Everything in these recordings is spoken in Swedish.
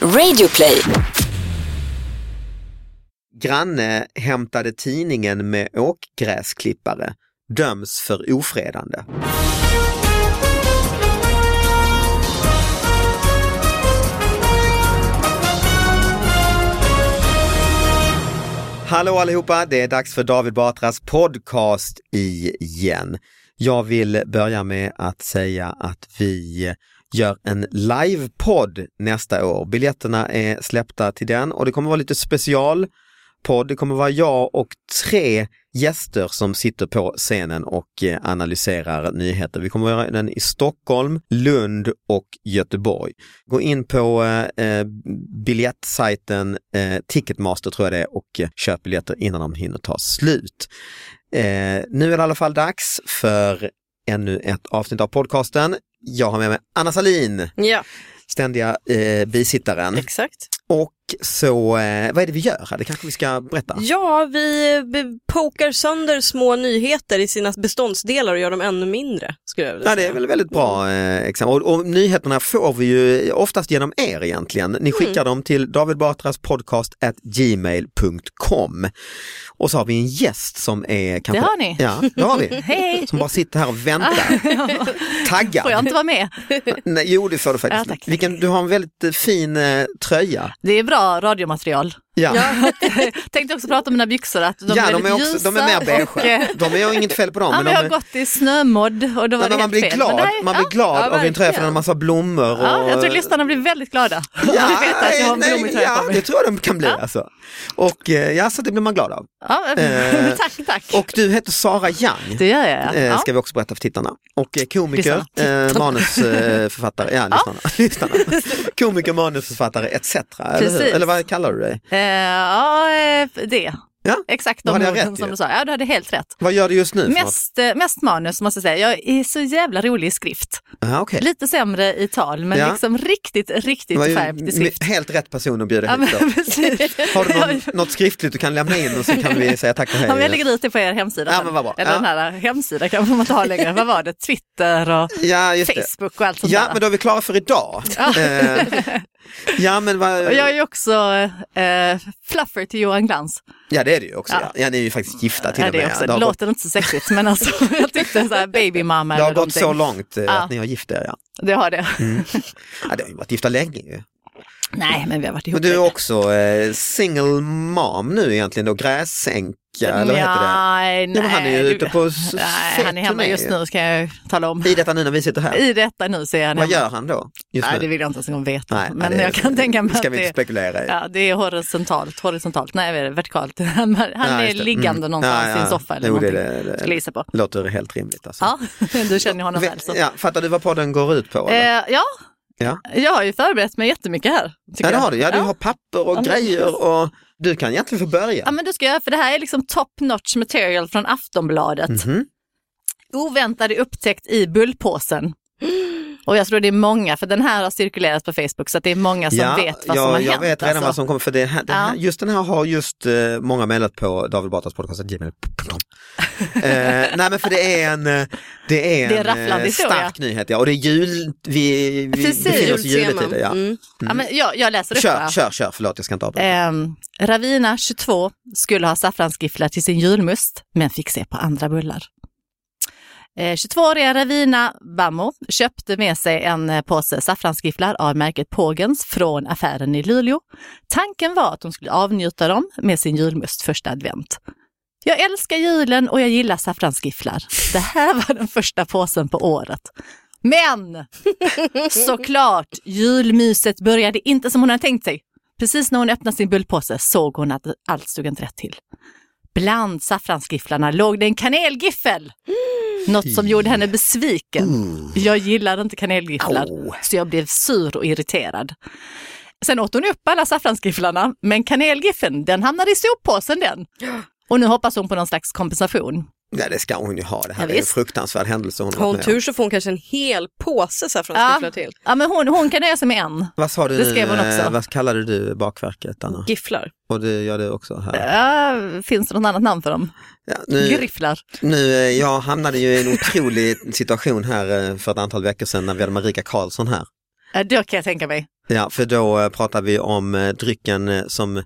Radioplay. Granne hämtade tidningen med åkgräsklippare, döms för ofredande. Hallå allihopa, det är dags för David Batras podcast igen. Jag vill börja med att säga att vi gör en livepodd nästa år. Biljetterna är släppta till den och det kommer vara lite special podd. Det kommer vara jag och tre gäster som sitter på scenen och eh, analyserar nyheter. Vi kommer göra den i Stockholm, Lund och Göteborg. Gå in på eh, eh, biljettsajten eh, Ticketmaster tror jag det är och eh, köp biljetter innan de hinner ta slut. Eh, nu är det i alla fall dags för ännu ett avsnitt av podcasten. Jag har med mig Anna Salin, Ja, ständiga eh, bisittaren. exakt. Och så, eh, vad är det vi gör? här? Det kanske vi ska berätta? Ja, vi be- pokar sönder små nyheter i sina beståndsdelar och gör dem ännu mindre. Skulle jag vilja Ja, det säga. är väl väldigt bra Mm. eh, exempel. Och, och nyheterna får vi ju oftast genom er egentligen. Mm. Ni skickar dem till davidbatraspodcast@gmail.com. Och så har vi en gäst som är kanske... Det har ni. Ja, det har vi. Hej! Som bara sitter här och väntar, taggad. Får jag inte vara med? Nej, jo, det får du faktiskt. Ah, Ja, tack. Vilken, du har en väldigt eh, fin eh, tröja. Det är bra radiomaterial. Ja, Tänkte också prata om mina byxor, att de de, ja, är de, är, väldigt också, ljusa. de är mer och, eh, beige. De är ju inget fel på dem. Ja, men de jag är- har gått i snömodd och då var Nej, men det man helt blir fel. glad, Men det här är- man blir ja, glad av en tröja för verkligen. den har en massa blommor. Och... ja, jag tror lyssnarna blir väldigt glada. Ja, Ja, att veta att jag har en nej, blommig tröja ja, på det mig. tror jag de kan bli alltså. Och eh, ja, så det blir man glad av. Ja, Eh, tack, tack. Och du heter Sara Young. det gör jag. eh, Ja. Ska vi också berätta för tittarna. Och eh, komiker, Lyssnarna. eh, manusförfattare, ja, lyssnarna. lyssnarna. Komiker, manusförfattare etc. Eller, hur? Precis. eller vad kallar du dig? Eh, ja, eh, det. Ja, Exakt då hade de jag orden rätt som ju. du sa. Ja, du hade helt rätt. Vad gör du just nu? för något? Mest, eh, mest manus måste jag säga. Jag är så jävla rolig i skrift. Ja, okej. Lite sämre i tal, men Eh. Ja. liksom riktigt, Det riktigt var ju skärpt i skrift. m- helt rätt person att bjuda Ja, hit. men, då. precis. Har du någon, något skriftligt du kan lämna in och så kan vi säga tack och hej? Ja, men jag lägger ut det på er hemsida. Ja, sen. men vad bra. Eller Ja. den här hemsidan kanske man inte har längre. vad var det? Twitter och ja, just det. Facebook och allt sånt Ja, där. men då är vi klara för idag. Eh, ja, men vad... Och jag är ju också eh, fluffer till Johan Glans. Ja det är det ju också. Ja. Ja. Ja. ni är ju faktiskt gifta till Ja, och det med. är också, det har gått, låter inte så sexigt men alltså jag tyckte så här babymamma det har eller gått så Mm. någonting. långt eh, Ja. att ni har gift er. Ja. Det har det. Ja, det har ju varit gifta länge ju. Nej men vi har varit ihop Men du är länge. också eh, single mom nu egentligen då, gräsänka eller vad heter det? Nej, Ja, men han är ju du- ute på s- Nej, han är fet hemma turné just ju. nu ska jag tala om. I detta nu när vi sitter här, I detta nu så är han vad hemma. gör han då? Just Nej, nu? det vill jag inte ens en gång veta. Nej, nej, men det- jag kan tänka mig det ska att vi inte det, spekulera i. Ja, det är horisontalt, horisontalt, nej vad är det? vertikalt. Han Ja, är just det. liggande Mm. någonstans Ja, i ja. en soffa eller Jo, det- någonting. det- det- Skulle jag gissa på. Låter helt rimligt alltså. Ja, du känner honom väl så. ja, fattar du vad podden går ut på? eller? Eh, ja, Ja. jag har ju förberett mig jättemycket här. ja, tycker det jag. har du. Ja, du ja. har papper och Ja, men- grejer och du kan egentligen få börja. Ja, men du ska jag, för det här är liksom top notch material från Aftonbladet. Mhm. Oväntade upptäckt i bullpåsen. Och jag tror det är många, för den här har cirkulerat på Facebook, så att det är många som Alltså, vet vad jag, som har jag hänt. vet redan alltså. vad som kommer, för det här, det här, Ja. just den här har just eh, många mejlat på David Batras podcast, gmail.com. eh, nej men för det är en, eh, det är Det är en en, rafflande eh, historia. stark nyhet, ja. och det är jul, vi, vi Precis. befinner oss i juletider. Ja. Mm. ja, men jag, jag läser upp Kör, bara. kör, kör, förlåt jag ska inte avbryta. Ehm, Ravina, 22, skulle ha saffransgifflar till sin julmust, men fick se på andra bullar. Eh, 22-åriga Ravina Bammo köpte med sig en eh, påse saffransgifflar av märket Pågens från affären i Luleå. Tanken var att hon skulle avnjuta dem med sin julmust första advent. Jag älskar julen och jag gillar saffransgifflar. Det här var den första påsen på året. Men såklart, julmyset började inte som hon hade tänkt sig. Precis när hon öppnade sin bullpåse såg hon att allt stod inte rätt till. Bland saffransgifflarna låg det en kanelgiffel! Något som gjorde henne besviken. Jag gillar inte kanelgifflar, Mm. Au. så jag blev sur och irriterad. Sen åt hon upp alla saffransgifflarna, men kanelgiffeln den hamnade i soppåsen den. Och nu hoppas hon på någon slags kompensation. Nej det ska hon ju ha, det här Ja, är en visst. fruktansvärd händelse hon Har har hon varit med tur om. så får hon kanske en hel påse saffransgifflar till. ja men hon, hon kan nöja sig med en. Vad sa du Det nu, skrev hon eh, också. vad kallade du bakverket Anna? Gifflar. Och du gör det också Eh, här. Ja, finns det något annat namn för dem? Ja, nu, Grifflar. Nu, eh, jag hamnade ju i en otrolig situation här eh, för ett antal veckor sedan när vi hade Marika Karlsson här. Eh, Då kan jag tänka mig. Ja, för då eh, pratar vi om eh, drycken eh, som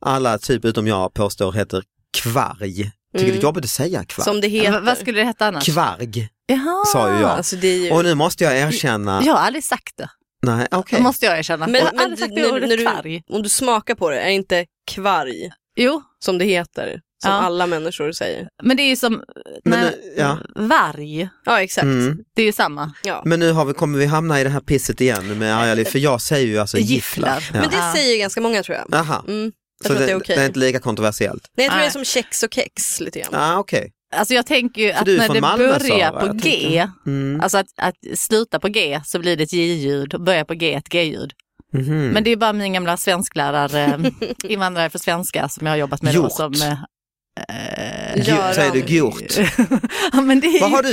alla, typ utom jag, påstår heter kvarg. Tycker det är Mm. jobbigt att säga kvarg. Som det Eh, heter. Vad skulle det heta annars? Kvarg, Jaha. sa ju jag. Alltså det är ju... Och nu måste jag erkänna, Jag har aldrig sagt det. nej okej. Det måste jag erkänna. Men- jag har men aldrig sagt du- det när- ordet när du- kvarg. Om du smakar på det, är det inte kvarg Jo, som det heter? Som Ja. alla människor säger. men det är ju som Men nej, nu- ja. varg. Ja, exakt. Mm. Det är ju samma. Ja. Men nu har vi, kommer vi hamna i det här pisset igen med arga liv, för jag säger ju alltså Gifflar. gifflar. Men Ja. det säger ganska många tror jag. Jaha, Mm. så Jag tror att det, det är okej. det är inte lika kontroversiellt. Nej, jag tror Nej. det är som kex och kex lite grann. Ah, okej. Alltså jag tänker ju att du är när från det Malmö, börjar Sara, på jag G, tänker. Mm. alltså att, att sluta på G så blir det ett J-ljud och börja på G ett G-ljud. Mhm. Men det är bara min gamla svensklärare, eh, invandrare för svenska som jag har jobbat med då Gjort. som... eh, Gjo- Göran. Säger du gjort? ja, men det är Vad ju, har du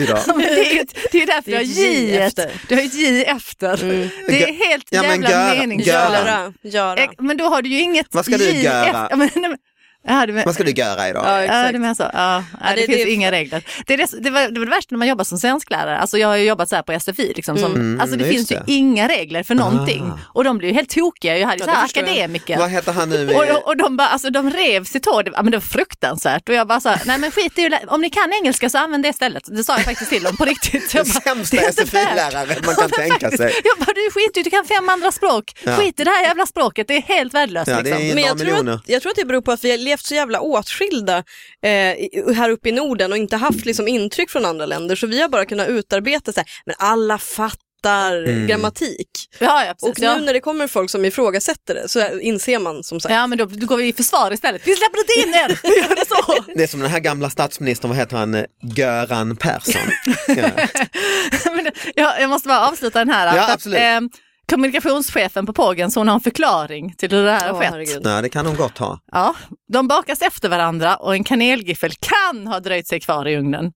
idag? Ja, men det är ju det är ju därför Det är jag har ett J J efter. efter. Du har ju ett J efter. Mm. Det är helt Ja, men jävla Göran- meningslöst. Göran. Göra, göra. Eh, Men då har du ju inget Vad ska du J göra? efter. Ja, men- nej, men- Ja, du men, Vad ska du göra idag? Ja, Ja, exakt. du menar så. Ja. Ja, Ja, det, det- finns det- inga regler. Det, är det, det, var, det var det värsta när man jobbar som svensklärare. Alltså, jag har ju jobbat så här på SFI. Liksom, som, Mm, alltså, det just finns ju det. inga regler för någonting. Ah. Och de blir ju helt tokiga. Jag hade Ja, så det här förstår jag. akademiker. Vad heter han nu? Och, och, och de, bara, alltså, de rev sitt hår, det, ja, men det var fruktansvärt. Och jag bara sa, nej men skit i att lä- om ni kan engelska så använd det istället. Det sa jag faktiskt till dem på riktigt. Jag Den bara, sämsta det är inte värt. SFI-läraren man kan tänka sig. Jag bara, du skiter i, du kan fem andra språk. Alltså, Ja. Skit i det här jävla språket, det är helt värdelöst. Ja, det liksom. är Men jag några tror, miljoner. att, jag tror att det beror på att vi har levt så jävla åtskilda eh, i- här uppe i Norden och inte haft liksom, intryck från andra länder. Så vi har bara kunnat utarbeta så här, men alla fattar Mm. grammatik. Ja, ja, precis, Och ja. nu när det kommer folk som ifrågasätter det så här inser man som sagt. Ja men då, då går vi i försvar istället. Vi släpper inte in er! Vi gör det så. Det är som den här gamla statsministern, vad heter han, eh, Göran Persson. Ja. men, jag, jag måste bara avsluta den här. Ja, Att, absolut. ehm, kommunikationschefen på Pågens, hon har en förklaring till hur det här Åh, har skett. herregud. Nej, det kan hon gott ha. Ja, de bakas efter varandra och en kanelgiffel kan ha dröjt sig kvar i ugnen.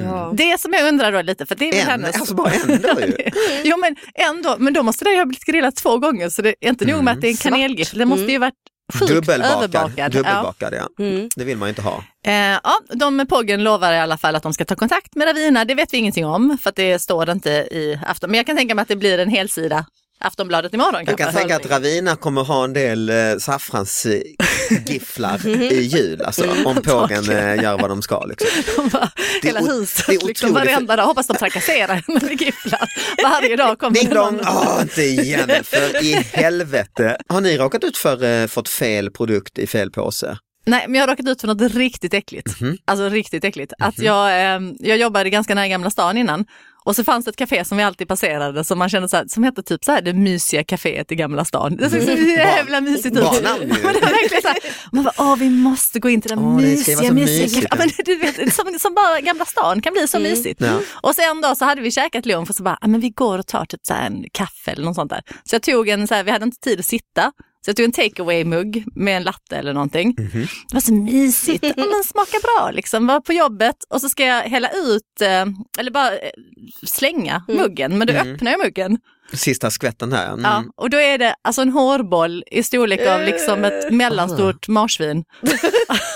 Ja. Det som jag undrar då lite, för det är väl En, hennes... alltså bara en då ju. Jo men ändå, men då måste det ju ha blivit grillat två gånger så det är inte nog med att det är en Mm, svart. kanelgiffel, det måste ju varit sjukt Dubbelbakad. överbakad. Ja. Dubbelbakad, ja. Mm. Det vill man ju inte ha. Eh, ja, de med Poggen lovar i alla fall att de ska ta kontakt med Ravina. Det vet vi ingenting om för att det står inte i Afton. Men jag kan tänka mig att det blir en hel sida Aftonbladet imorgon Jag kan kanske. tänka att Ravina kommer ha en del eh, saffransgifflar i jul, alltså om pågen eh, gör vad de ska. Liksom. De bara, Det är hela o- huset, det är liksom, otroligt. varenda dag. Hoppas de trakasserar henne med gifflar. Varje dag kommer Ding det dong! någon. Åh, inte igen, för i helvete. Har ni råkat ut för eh, fått fel produkt i fel påse? Nej, men jag har råkat ut för något riktigt äckligt. Mhm. Alltså riktigt äckligt. Att jag, eh, jag jobbade ganska nära Gamla stan innan och så fanns det ett café som vi alltid passerade som man kände så här, som hette typ så här det mysiga caféet i Gamla stan. Det såg så jävla mysigt ut. Bra namn Mhm. ju. Men det var verkligen så här, man bara, åh vi måste gå in till det Åh, det ska ju mysiga, vara så mysiga mysigt, caféet. Ja, men du vet, som, som bara Gamla stan kan bli så mysigt. Mm. Ja. Och så en dag så hade vi käkat lunch och så bara, ah, men vi går och tar typ så här en kaffe eller något sånt där. Så jag tog en, så här, vi hade inte tid att sitta, så jag tog en takeaway-mugg med en latte eller någonting. Mhm. Det var så mysigt, ja, men smaka bra liksom, var på jobbet och så ska jag hälla ut, eh, eller bara eh, slänga muggen, men då öppnar jag muggen. Sista skvätten här. Mm. Ja, och då är det alltså en hårboll i storlek av liksom Eh. ett mellanstort marsvin.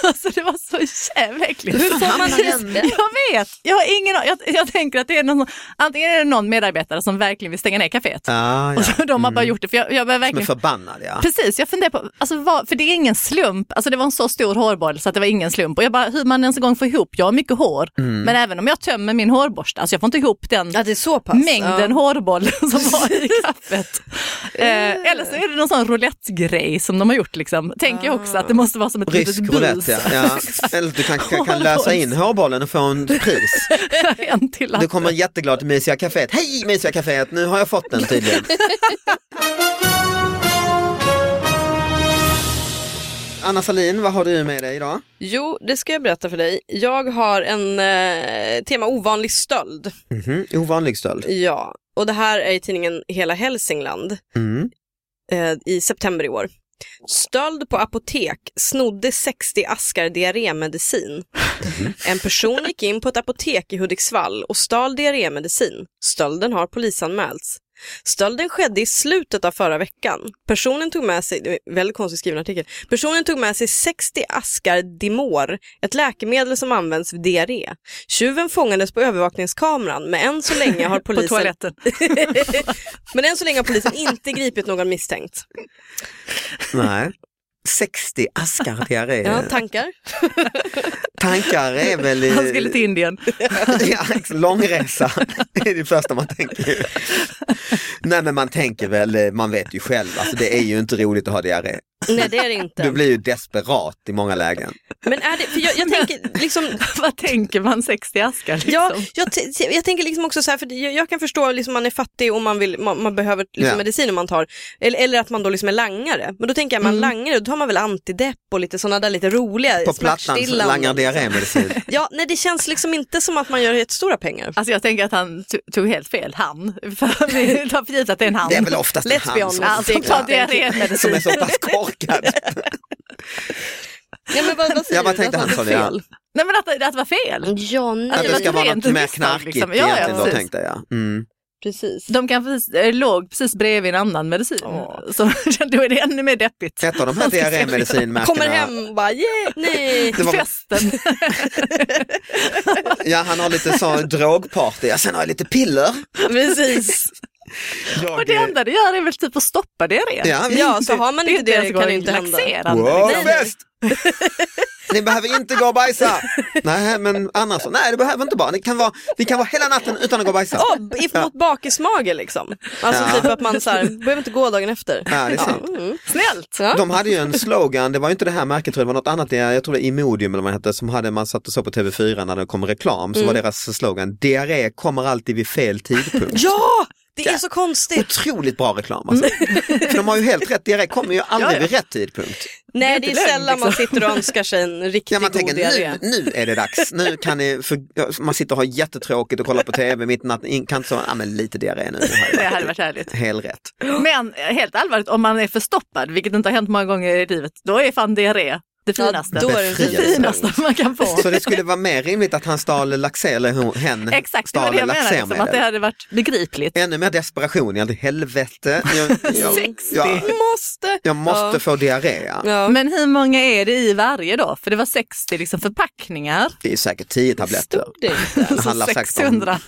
alltså det var så jävla äckligt. Hur får man i det? Jag vet, jag har ingen an- jag, jag tänker att det är någon, antingen är det någon medarbetare som verkligen vill stänga ner kaféet. Ah, ja. Och så de har bara gjort det, för jag, jag börjar Som är verkligen... förbannad, ja. Precis, jag funderar på, alltså vad, för det är ingen slump, alltså det var en så stor hårboll så att det var ingen slump. Och jag bara, hur man ens en gång får ihop, jag har mycket hår, Mm. men även om jag tömmer min hårborste, alltså jag får inte ihop den Ja, det är så pass. mängden ja. hårboll som var i kaffet. eh, eller så är det någon sån roulettegrej som de har gjort liksom. Tänker jag också att det måste vara som ett Ah. Rysk litet bus. roulette, ja. ja. Eller du kan, kan, kan lösa in hårbollen och få en pris. en till Du att, kommer jätteglad till Mysiga Caféet. Hej Mysiga Caféet, nu har jag fått den tydligen. Anna Salin, vad har du med dig idag? Jo, det ska jag berätta för dig. Jag har en eh, tema ovanlig stöld. Mhm, Ovanlig stöld. Ja, och det här är i tidningen Hela Hälsingland Mm. eh, i september i år. Stöld på apotek, snodde 60 askar diarrémedicin. Mhm. En person gick in på ett apotek i Hudiksvall och stal diarrémedicin. Stölden har polisanmälts. Stölden skedde i slutet av förra veckan. Personen tog med sig, det är en väldigt konstigt skriven artikel, personen tog med sig 60 askar Dimor, ett läkemedel som används vid diarré. Tjuven fångades på övervakningskameran men än så länge har På polisen toaletten. Men än så länge har polisen inte gripit någon misstänkt. Nej. 60 askar diarré. Ja, tankar? Tankar är väl... i- Han skulle till Indien. ja, ex- långresa, det är det första man tänker. ju. Nej men man tänker väl, eh, man vet ju själv, alltså, det är ju inte roligt att ha diarré. Nej, det är det Du inte. blir ju desperat i många lägen. Men är det, för jag, jag tänker liksom, Vad tänker man 60 askar liksom? Ja, jag, t- jag tänker liksom också så här, för det- jag, jag kan förstå att liksom man är fattig och man, vill, man, man behöver liksom Ja. mediciner man tar. Eller, eller att man då liksom är langare. Men då tänker jag, man Mm. langare, då tar man väl antidepp och lite sådana där lite roliga På plattan så smärtstillande. langar diarrémedicin. Ja, nej det känns liksom inte som att man gör jättestora pengar. Alltså jag tänker att han to- tog helt fel, han. För vi tar för givet att det är en han. Det är väl oftast en han Lesbian. som, Ja, som Alltså, tar som diarrémedicin. är så pass korkad. Ja, men vad, vad säger Ja, vad du? tänkte Vad sa han, du Sonja? fel? Nej men att, att det var fel. Ja, nej. Att det ska var vara rent något mer misstag, knarkigt liksom. Ja, ja, egentligen då precis. tänkte jag. Mm. Precis. De kan precis, eh, låg precis bredvid en annan medicin. Ja. Så då är det ännu mer deppigt. Ett av de här Kommer diarrémedicinmärkena, hem och bara, yeah, nej. Det var- Festen. ja han har lite sån drogparty, ja, sen har jag lite piller. Precis. Jag, Och det eh, enda det gör är väl typ att stoppa diarré. Ja, vi- Ja, så har man Det är inte det, ens kan det gång inte hända. laxerande, Wow, liksom. fest! Ni behöver inte gå och bajsa. Nej, men annars Nej, det behöver inte bara. Ni kan vara, ni kan vara hela natten utan att gå och bajsa. Oh, mot bakismage liksom. Alltså Ja. typ att man så här, behöver inte gå dagen efter. Ja, det är sant. Mm. Snällt! Ja. De hade ju en slogan, det var ju inte det här märket, tror jag, det var något annat, det- jag tror det är Imodium eller vad det hette, som hade man satt och så på TV4 när det kom reklam, så Mm. var deras slogan diarré kommer alltid vid fel tidpunkt. Ja, det är så konstigt. Otroligt bra reklam alltså. För de har ju helt rätt, diarré kommer ju aldrig Ja, ja. vid rätt tidpunkt. Nej, inte det är lögn, sällan man sitter och önskar sig en riktigt Ja, man god tänker diarré. nu, nu är det dags, nu kan ni, för, ja, man sitter och har jättetråkigt och kollar på TV mitt i natten, kan inte så, ja men lite diarré nu. det har jag. Det hade varit härligt. Helt rätt. Men eh, helt allvarligt, om man är förstoppad, vilket inte har hänt många gånger i livet, då är fan diarré det finaste. Ja, då är det det Befrielse. finaste man kan få. Så det skulle vara mer rimligt att han stal Laxell, eller hon- hen Exakt, det var stal det jag menade, liksom, att det laxermedel. hade varit begripligt. Ännu mer desperation, jag hade helvete. Jag, jag, 60. jag, Måste. jag måste Ja. få diarré. ja. Ja. Men hur många är det i varje då? För det var 60 liksom förpackningar. Det är säkert tio tabletter. Stod det inte? Det handlar Så säkert om- 600.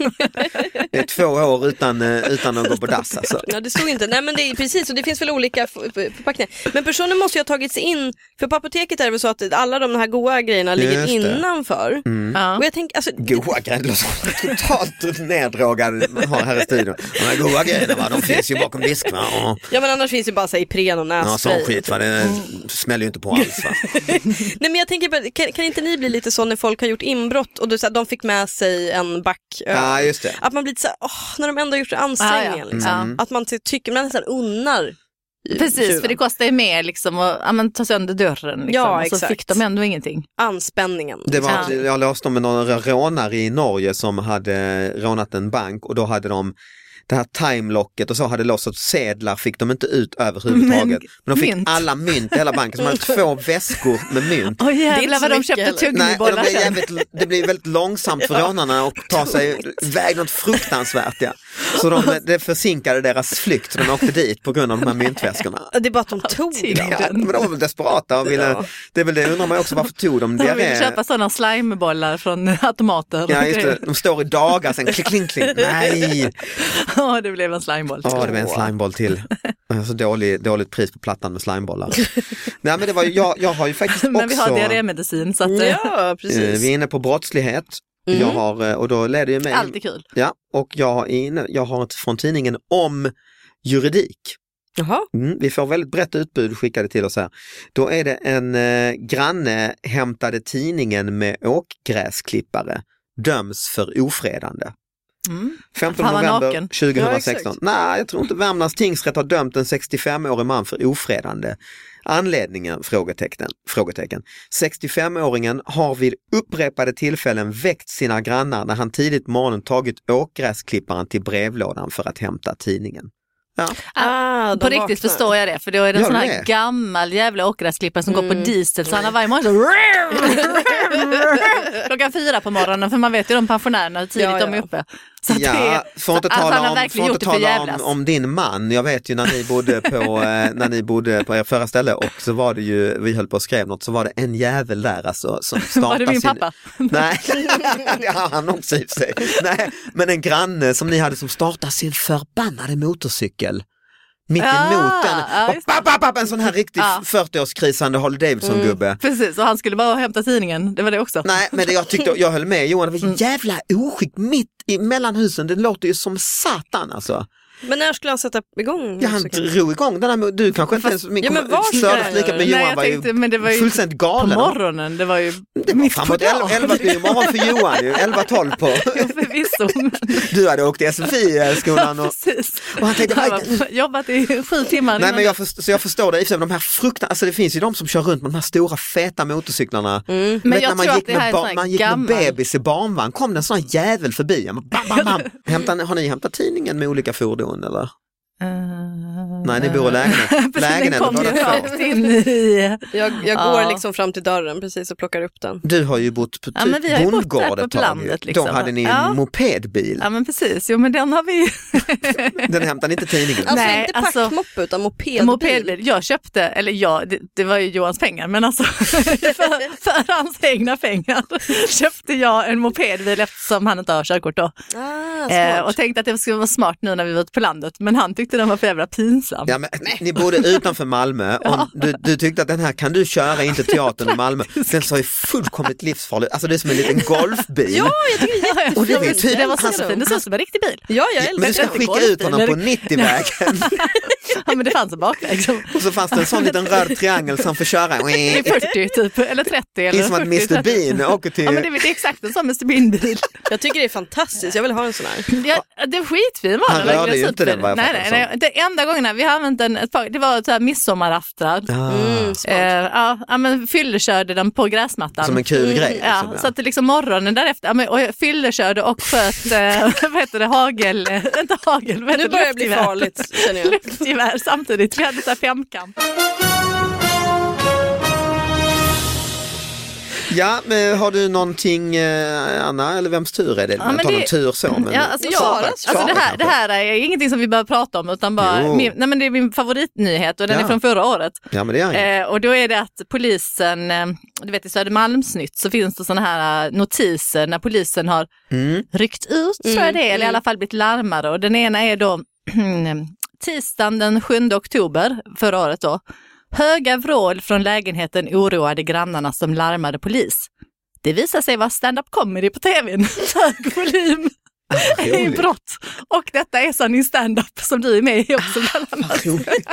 Det är två år utan, eh, utan att gå på dass alltså. Ja, det stod inte. Nej, men det är precis, och det finns väl olika f- f- förpackningar. Men personen måste ju ha tagit sig in, för på apoteket är det väl så att alla de här goda grejerna ligger Just det. Mm. innanför. Ja. Och jag tänker, alltså, Goa grejer, det låter som en totalt neddrogad man har här i studion. De här goa grejerna va, de finns ju bakom disk va. Ja, ja men annars finns ju bara så här Ipren och Ja, sån nässpray. skit va, det Mm. smäller ju inte på alls va. Nej men jag tänker bara, kan, kan inte ni bli lite så när folk har gjort inbrott och du, så här, de fick med sig en back öl? Ja, just det. Att man blir lite så här, åh, när de ändå har gjort ansträngningen. Ah, ja. liksom. Mm. Att man ty- tycker, man nästan unnar Precis, för det tjuven. kostar ju mer liksom att ja, men, ta sönder dörren. Liksom, Ja, och så exakt. fick de ändå ingenting. anspänningen. Det var, Ja. Jag läste om några rånare i Norge som hade rånat en bank och då hade de det här timelocket och så hade låst så sedlar fick de inte ut överhuvudtaget. Men, Men- de fick mynt. alla mynt i hela banken, så de hade två väskor med mynt. Åh Det är inte jävlar så vad de mycket köpte heller. Nej, och de tuggummibollar blev sen. jävligt, det blev väldigt långsamt för rånarna att ta sig iväg något fruktansvärt. Ja. Så de, det försinkade deras flykt, de åkte dit på grund av de här myntväskorna. Det är bara att de tog tydligen. den. Ja, men de var väl desperata och ville, Ja. det är väl det undrar man ju också varför tog de De ville diarré- köpa sådana slimebollar från automater. Ja, just det. De står i dagar sen, klick, kling, kling. Nej! Ja, det blev en slimeboll. Ja, det var en slimeboll till. Så dålig, dåligt pris på plattan med slimebollar. Nej, men det var ju, jag, jag har ju faktiskt också... Men vi har diarrémedicin så att, eh, Ja, eh, precis. vi är inne på brottslighet. Mm. Jag har, eh, och då leder ju mig... allt är kul. Ja, och jag har, inne, jag har ett från tidningen om juridik. Jaha. Mm, vi får väldigt brett utbud skickade till oss här. Då är det en eh, granne hämtade tidningen med åkgräsklippare, döms för ofredande. Mm. 15 Han var november naken. 2016. Ja, exakt. Nej, jag tror inte Värmlands tingsrätt har dömt en 65-årig man för ofredande. Anledningen? Frågetecken. frågetecken. 65-åringen har vid upprepade tillfällen väckt sina grannar när han tidigt på morgonen tagit åkgräsklipparen till brevlådan för att hämta tidningen. Ah, de På riktigt vaknar. förstår jag det, för då är det en Gör sån det? här gammal jävla åkgräsklippare som går på Mm. diesel så han har varje morgon så klockan fyra på morgonen för man vet ju de pensionärerna hur tidigt Ja, ja. de är uppe. Så att Ja, det, får inte så att han tala, har om, verkligen får inte gjort det för tala om, jävlas. om din man. Jag vet ju när ni bodde på, eh, när ni bodde på er förra ställe och så var det ju, vi höll på och skrev något, så var det en jävel där alltså som startade var det min sin... pappa? Nej, det har han också i och för sig. Nej, men en granne som ni hade som startade sin förbannade motorcykel. Mitt Ah, emot den. ja, just Ah. Papp, Mm. papp, papp, en sån här riktig Ja. 40-årskrisande Harley Davidson-gubbe. Precis, och han skulle bara hämta tidningen. Det var det också. Nej, men det jag tyckte, jag höll med Johan, det Mm. var jävla oskick mitt i mellan husen. Det låter ju som satan alltså. Men när skulle han sätta igång? Ja, han musiken? drog igång den här, mo- du kanske inte ens min Ja, men var ska stördes jag lika göra det? men Nej, Johan jag var tänkte, ju men det var ju fullständigt på galen. morgonen. Det var ju Det var mitt på framåt 11, dagen. 11 på morgonen för Johan ju, 11-12 på. Jo, förvisso. Men, Du hade åkt till SFI-skolan eh, och precis. Och han tänkte, Jag har jobbat i sju timmar Nej innan men jag, först, så jag förstår det, i och för sig, men de här fruktan, alltså det finns ju de som kör runt med de här stora feta motorcyklarna. Mm. Men Vet jag när man tror gick att det här med, är bar- sån här man gick med gammal- bebis i barnvagn, kom det en sån här jävel förbi. Jag bara, bam, bam, bam. Hämtar, ni- har ni hämtat tidningen med olika fordon eller? Eh, Nej, ni bor i lägenhet. Precis, Lägenhet, Den kom båda ju två. rakt in i... Jag, jag Ja. går liksom fram till dörren precis och plockar upp den. Du har ju bott på typ Ja, men vi har ju bott där bondgård uppe ett på tag. ju. landet, liksom. Då hade ni en Ja. mopedbil. Ja men precis, jo men den har vi Den hämtar ni inte tidningen. Alltså Nej, inte alltså- packmoppe utan mopedbil. Mopedbil. Jag köpte, eller jag, det, det var ju Johans pengar, men alltså för, för hans egna pengar köpte jag en mopedbil eftersom han inte har körkort då. Ah, Eh, smart. och tänkte att det skulle vara smart nu när vi var ute på landet, men han tyckte den var för jävla pinsam. Ja, men, ni bodde utanför Malmö och du, du tyckte att den här kan du köra in till teatern i Malmö. Den såg ju fullkomligt livsfarlig Alltså det är som en liten golfbil. Ja, jag tycker det är jättefint. Och det var ju tydligt. Den var Han- så fin, det såg ut som en riktig bil. Ja, jag Men du älskar ska det. skicka ut honom på 90-vägen Ja men det fanns en bakväg. som- och så fanns det en sån liten röd triangel som får köra. Det är 40 typ, eller 30 Det eller är som att 40, Mr Bean åker till... Ja men det, är- det är exakt en sån Mr Bean-bil. Jag tycker det är fantastiskt, jag vill ha en sån här. Ja, den skitfin var Han den. rörde verkligen ju inte super. den, vad jag nej, fattar nej, nej. Det enda gången vi har använt den ett par, det var så här midsommarafton. Ah, Mm, smart. Eh, ja, ja, men fyllekörde den på gräsmattan. som en kul grej. Mm, Ja, liksom, så att det liksom morgonen därefter, ja, men, och jag fyllekörde och sköt, eh, vad heter det, hagel, eh, inte hagel, vad heter Nu börjar det bli luftgevär. farligt känner jag. Mm. Luftgevär samtidigt, vi hade så här femkamp. Ja, men har du någonting eh, Anna, eller vems tur är det? men Ta det- någon tur så. Men... Ja, alltså, Men jag, Sara- alltså Sara det, här, kanske? det här är ingenting som vi behöver prata om utan bara, Jo. min, nej, men det är min favoritnyhet och den Ja. är från förra året. ja men det är Eh, och då är det att polisen, eh, du vet i Södermalmsnytt så finns det sådana här eh, notiser när polisen har mm. ryckt ut tror jag det är, eller i alla fall blivit larmade. Och den ena är då tisdagen den 7 oktober förra året då. Höga vrål från lägenheten oroade grannarna som larmade polis. Det visar sig vara stand-up comedy på tvn. Hög volym i roligt. brott. Och detta är sanning stand-up som du är med i också bland annat. Vad roligt.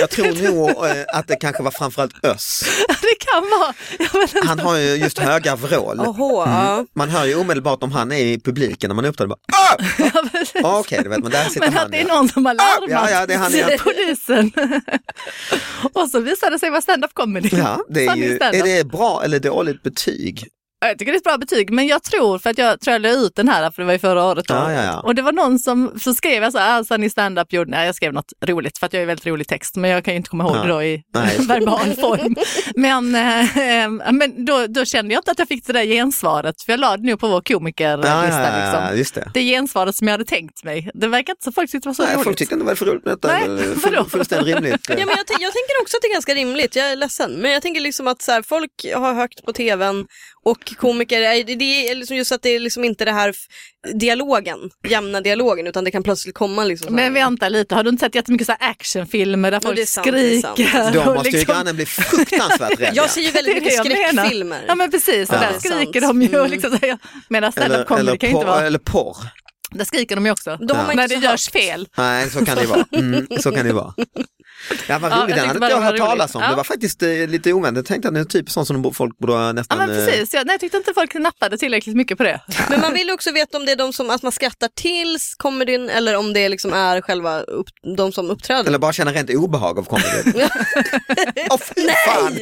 Jag tror nog eh, att det kanske var framförallt Öss. Det kan vara. Jag vet inte. Han har ju just höga vrål. Oho, ja. Man hör ju omedelbart om han är i publiken när man upptäcker bara "Ah!" Ja, Okej, det vet man, där sitter Men han. att det är ja. någon som har Ja, larmat ja, det är han, ja. polisen. och så visade det sig vara stand-up comedy. Ja, det är, Sanning ju, stand-up. är det bra eller dåligt betyg? Ja, Jag tycker det är ett bra betyg, men jag tror, för att jag tror jag la ut den här, för det var ju förra året då. Ja, ja, ja. Och det var någon som, så skrev jag så här, alltså ni stand-up gjorde, nej jag skrev något roligt för att jag är väldigt rolig text, men jag kan ju inte komma ihåg Ja. det då i Nej. verbal form. Men, eh, eh, men då, då kände jag inte att jag fick det där gensvaret, för jag la det nu på vår komikerlista. Ja, ja, ja, ja, liksom. just det. Det gensvaret som jag hade tänkt mig, det verkar inte så folk tyckte det var så Nej, roligt. folk tyckte inte det var för roligt med detta. Nej, eller vadå? full- Fullständigt rimligt. Ja, men jag, tän- jag tänker också att det är ganska rimligt, jag är ledsen. Men jag tänker liksom att så här, folk har högt på tvn och komiker, är- det- det är liksom just att det är liksom inte det här f- dialogen, jämna dialogen, utan det kan plötsligt komma liksom så här. Men vänta lite, har du inte sett jättemycket så här actionfilmer där Jo, det är folk sant, det är sant. skriker? Då och måste ju liksom- grannen bli fruktansvärt rädd. ja. Jag ser ju väldigt Det är mycket det jag menar. skräckfilmer. Ja men precis, och Ja. där skriker de ju. Mm. Liksom, så här, medan stand-up Eller, comedy eller, kan ju inte porr, vara. eller porr. Där skriker de ju också. Då har man När inte det så görs fel. Nej, så kan det ju vara. Mm, så kan det ju vara. Ja, vad Ja, jag roligt, den tyckte hade bara inte jag det var hört talas roligt. om. Ja. Det var faktiskt eh, lite oväntat. Jag tänkte att det är typ sånt som de- folk borde ha Ja nästan... men eh, precis, jag, nej, jag tyckte inte folk nappade tillräckligt mycket på det. Men man vill ju också veta om det är de som, att man skrattar tills comedyn eller om det liksom är själva upp, de som uppträder. Eller bara känna rent obehag av comedy. Åh fy fan!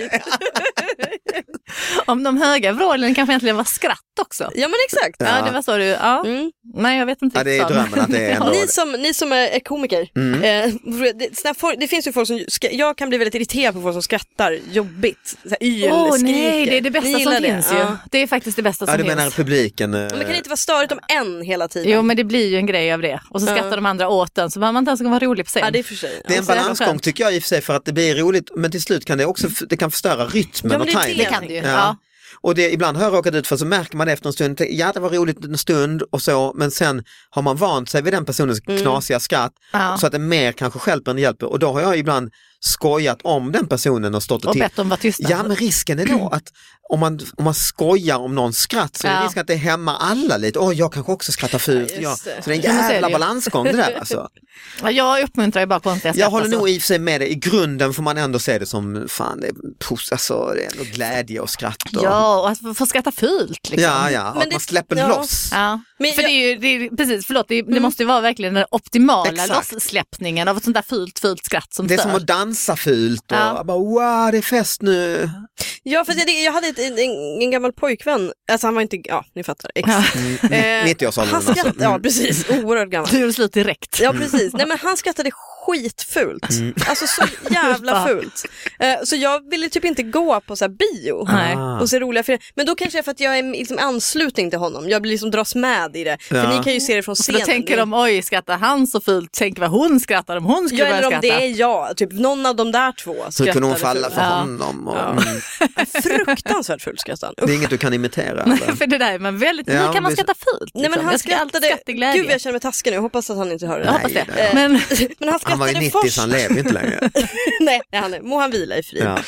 Om de höga vrålen kanske egentligen var skratt också. Ja men exakt. Ja, Ja. det var så du, ja. Mm. Nej jag vet inte Ja, det är riktigt vad, drömmen att det Mm. är men- ändå- Ni, som, ni som är är komiker, eh, det, såna här folk- det finns ju folk som som, ska- jag kan bli väldigt irriterad på folk som skrattar jobbigt. Så här, yl, Åh skriker. nej, det är det Ni bästa gillar som finns ju. Ja. Det är faktiskt det bästa Ja, som du menar finns. publiken. eh, Men kan det inte vara störigt om en hela tiden? Jo men det blir ju en grej av det. Och så Ja. skrattar de andra åt den så behöver man inte ens vara rolig på scen. ja, det är för sig. Det är en så är det balansgång skönt. tycker jag i och för sig för att det blir roligt men till slut kan det också det kan förstöra rytmen men och det är Det tajmingen. kan du ju. Ja. Ja. Och det, ibland har jag råkat ut för så märker man det efter en stund, tänk, ja det var roligt en stund och så men sen har man vant sig vid den personens knasiga skratt Mm. Ja. så att det mer kanske stjälper än hjälper och då har jag ibland skojat om den personen och stått och, Och tittat. bett dem vara tysta. Ja men risken är då att om man, om man skojar om någons skratt så är Ja. risken att det hämmar alla lite. Åh, jag kanske också skrattar fult. Ja, Ja, just så det. det är en Ja, men så är det jävla ju. balansgång det där alltså. Ja, Jag uppmuntrar ju bara konstiga skratt. Jag håller alltså. nog i och för sig med dig, i grunden får man ändå se det som fan, det är, pos- alltså, det är ändå glädje och skratt. Och, Ja, och att få- få skratta fult liksom. ja, ja, och Men att det- man släpper ja. loss. Ja. Men för jag- Mm. det är ju, det är, precis, förlåt, det, är- det måste ju vara verkligen den optimala Exakt. lossläppningen av ett sånt där fult, fult skratt som Det är stör. som att dansa fult och Ja. bara wow, det är fest nu. Ja, för det, jag hade ett, en, en, en gammal pojkvän, alltså han var inte, ja ni fattar, ex. Ja. Eh, 90-årsåldern han skrattade, alltså. Mm. ja precis, oerhört gammal. Du gör slut direkt. Ja precis, nej men han skrattade skitfult. Mm. Alltså så jävla fult. Eh, så jag ville typ inte gå på så här bio. Nej. Ah. Och se roliga filmer. Men då kanske det är för att jag är liksom anslutning till honom. Jag blir liksom dras med i det. För Ja. ni kan ju se det från Så scenen. då tänker Ni- de, oj skrattar han så fult, tänk vad hon skrattar om hon skulle Ja, börja eller om skratta. det är jag, typ någon av de där två Så kunde hon falla fult. för Ja. honom. Och, Ja. mm, Fruktansvärt fult skrattade han. det är Usch. inget du kan imitera. eller? För det där är man väldigt, Ja, hur kan man det- skratta fult? Nej men liksom? han Jag ska alltid skrattade, skratta i glädje. gud jag känner mig taskig nu, jag hoppas att han inte hör det. jag här. hoppas det. Nej, Men, Men han Han var skrattade ju 90 först. så han lever ju inte längre. nej, nej, han är, må han vila i frid. Ja.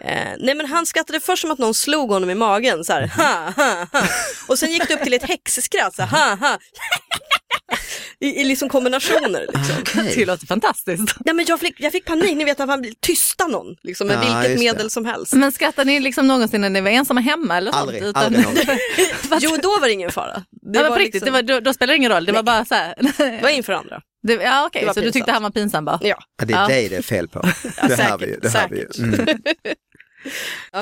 Eh, nej men han skrattade först som att någon slog honom i magen så här, ha, ha, ha. Och sen gick det upp till ett häxskratt så här, ha, ha. I, I liksom kombinationer. Mm-hmm. Liksom. det Okej. låter fantastiskt. Nej, men jag, fick, jag fick panik, ni vet att man vill tysta någon liksom, med Ja, vilket just det. medel som helst. Men skrattar ni liksom någonsin när ni var ensamma hemma eller Aldrig, sånt? aldrig någonsin. Jo då var det ingen fara. Det var, på riktigt, liksom- det var, då, då spelar det ingen roll, det var bara så här. det var inför andra. Det, ja okej, Det var så du tyckte pinsamt. han var pinsam bara. Ja. Ja, det är Ja. dig det är fel på. Det hör vi ju. Det hör vi ju. Mm.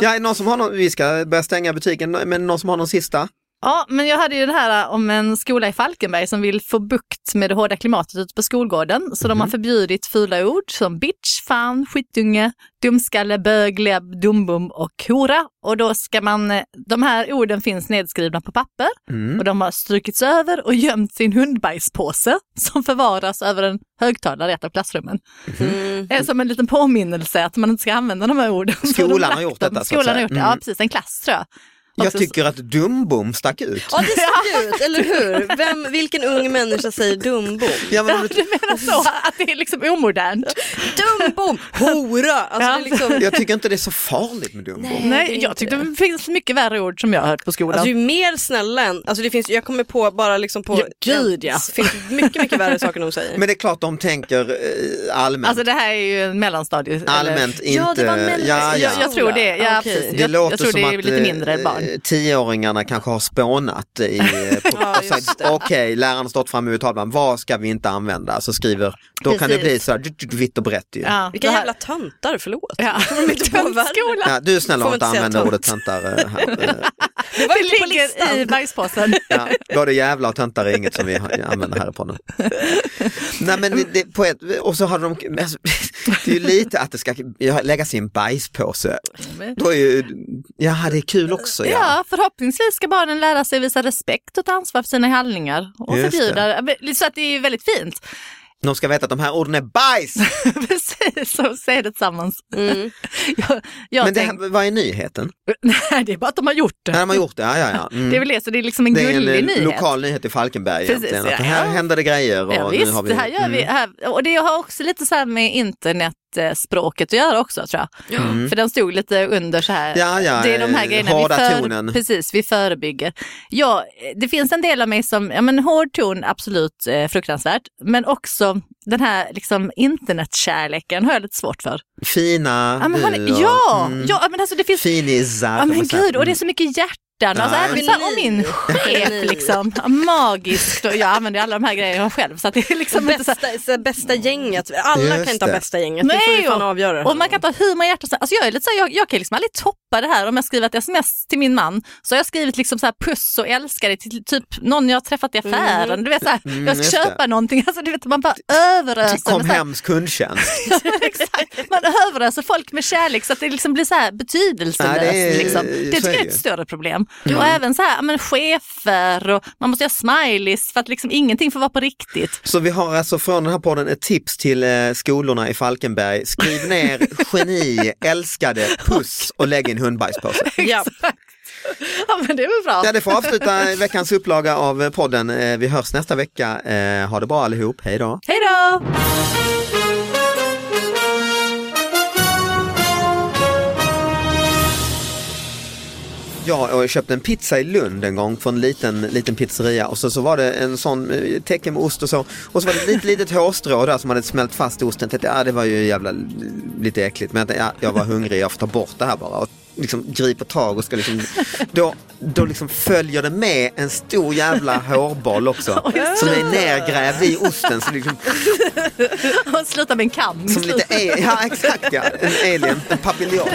Ja, är någon som har någon, vi ska börja stänga butiken, men någon som har någon sista? Ja, men jag hade ju det här äh, om en skola i Falkenberg som vill få bukt med det hårda klimatet ute på skolgården. Så de har förbjudit fula ord som bitch, fan, skitunge, dumskalle, bög, lebb, dumbum och hora. Och då ska man, eh, de här orden finns nedskrivna på papper Mm. och de har strukits över och gömt sin hundbajspåse som förvaras över en högtalare i ett av klassrummen. Mm. Eh, Som en liten påminnelse att man inte ska använda de här orden. Så Skolan de lagt har gjort dem. detta, så att Skolan har säga. gjort det, ja Mm. precis, en klass tror jag. Jag Också- tycker att Dumbom stack ut. Ja det stack ut, eller hur? Vem, vilken ung människa säger dumbom? Ja, men om Ja, du- du menar så, att det är liksom omodernt? Dumbom! Hora! Alltså, det är liksom... Jag tycker inte det är så farligt med Dumbo. Nej. det är Nej, inte jag tyckte det finns mycket värre ord som jag har hört på skolan. Alltså ju mer snälla än, alltså det finns, jag kommer på bara liksom på, Ja, gud, ja. det finns mycket, mycket värre saker de säger. Men det är klart de tänker eh, allmänt. Alltså det här är ju en mellanstadie. eller- allmänt inte... Ja, det var mellan- ja, ja. Jag, jag tror det, ja Skola, precis. okej. Det Jag, låter jag tror som det är att lite eh, mindre barn. tioåringarna kanske har spånat i... eh, på- Ja, och just sagt, det. Okej, läraren har stått framme vid tavlan, vad ska vi inte använda? Så skriver, då kan det Precis. bli så här dut, dut, vitt och brett ju. Ja. Ja, Vilka det här- jävla töntar, förlåt. Ja. De inte på världen. Skolan. du är snäll Får och man inte inte säga använda tönt? ordet töntar eh, här. Eh, Det, var inte på ligger i listan. bajspåsen. Ja, både jävla och töntar är inget som vi har- använder här i podden. Nej men det- det, på ett, och så hade de, alltså, det är ju lite att det ska läggas i en bajspåse. Då är ju, jaha det är kul också ja. Ja, förhoppningsvis ska barnen lära sig visa respekt och ta ansvar för sina handlingar och Just förbjuda. Så att det är ju väldigt fint. De ska veta att de här orden är bajs. Precis, och säga det tillsammans. Mm. Jag, jag Men det, tänkte, här- vad är nyheten? nej, det är bara att de har gjort det. När de har gjort det, ja ja ja. Mm. Det är väl det, så det är liksom en Det är en gullig eh, nyhet. lokal nyhet i Falkenberg Precis, egentligen. Att ja, här ja. händer det grejer. Och Ja, nu visst, har vi, det här gör vi. Mm. Här, och det har också lite så här med internetspråket att göra också tror jag. Mm. För den stod lite under så här. Ja, ja, det är de här eh, grejerna hårda vi, tonen. Precis, vi förebygger. Ja, eh, det finns en del av mig som, ja men hård ton absolut eh, fruktansvärt, men också den här liksom internetkärleken har jag lite svårt för. Fina Ja, men, har du ni, och- ja, mm. ja men alltså det finns Finisar. Ja kan men man säga. gud, och det är Mm. så mycket hjärtan hjärtan. Alltså, Nej. även så här, och min chef liksom, magiskt. Och jag använder ju alla de här grejerna själv. Så att det är liksom inte så här, Bästa, så bästa gänget. Alla Just kan inte ha det. bästa gänget. det Nej, får vi fan avgöra. och man kan ta hur många hjärtan som- alltså jag, är lite så här, jag, jag kan liksom aldrig toppa det här. Om jag skriver ett sms till min man så har jag skrivit liksom så här, puss och älskar dig till typ någon jag har träffat i affären. Du vet, så här, Mm, jag ska just det. köpa någonting. Alltså, du vet, man bara överöser. Kom med så här, hems kundtjänst. Exakt. Man överöser folk med kärlek så att det liksom blir så här betydelselöst. Ja, det är- liksom. så det är tycker jag det är ett ju. större problem. Och även så här, ja, men chefer och man måste göra smileys för att liksom ingenting får vara på riktigt. Så vi har alltså från den här podden ett tips till eh, skolorna i Falkenberg. Skriv ner geni, älskade, puss och lägg i en hundbajspåse. ja. Ja men det är väl bra. Ja, det får avsluta veckans upplaga av eh, podden. Eh, Vi hörs nästa vecka. Eh, Ha det bra allihop. Hej då! Hej då! Ja, och jag köpte en pizza i Lund en gång från en liten, liten pizzeria och så, så var det en sån eh, tecken med ost och så. Och så var det ett litet, litet hårstrå där som hade smält fast i osten. Jag tänkte, ja det var ju jävla lite äckligt men jag, tänkte, ja, jag var hungrig, jag får ta bort det här bara. Och liksom griper tag och ska liksom, då, då liksom följer det med en stor jävla hårboll också. Som är nergrävd i osten. Så liksom, e- Och sluta med en kam. som lite, a- ja exakt ja, en alien, en papiljon.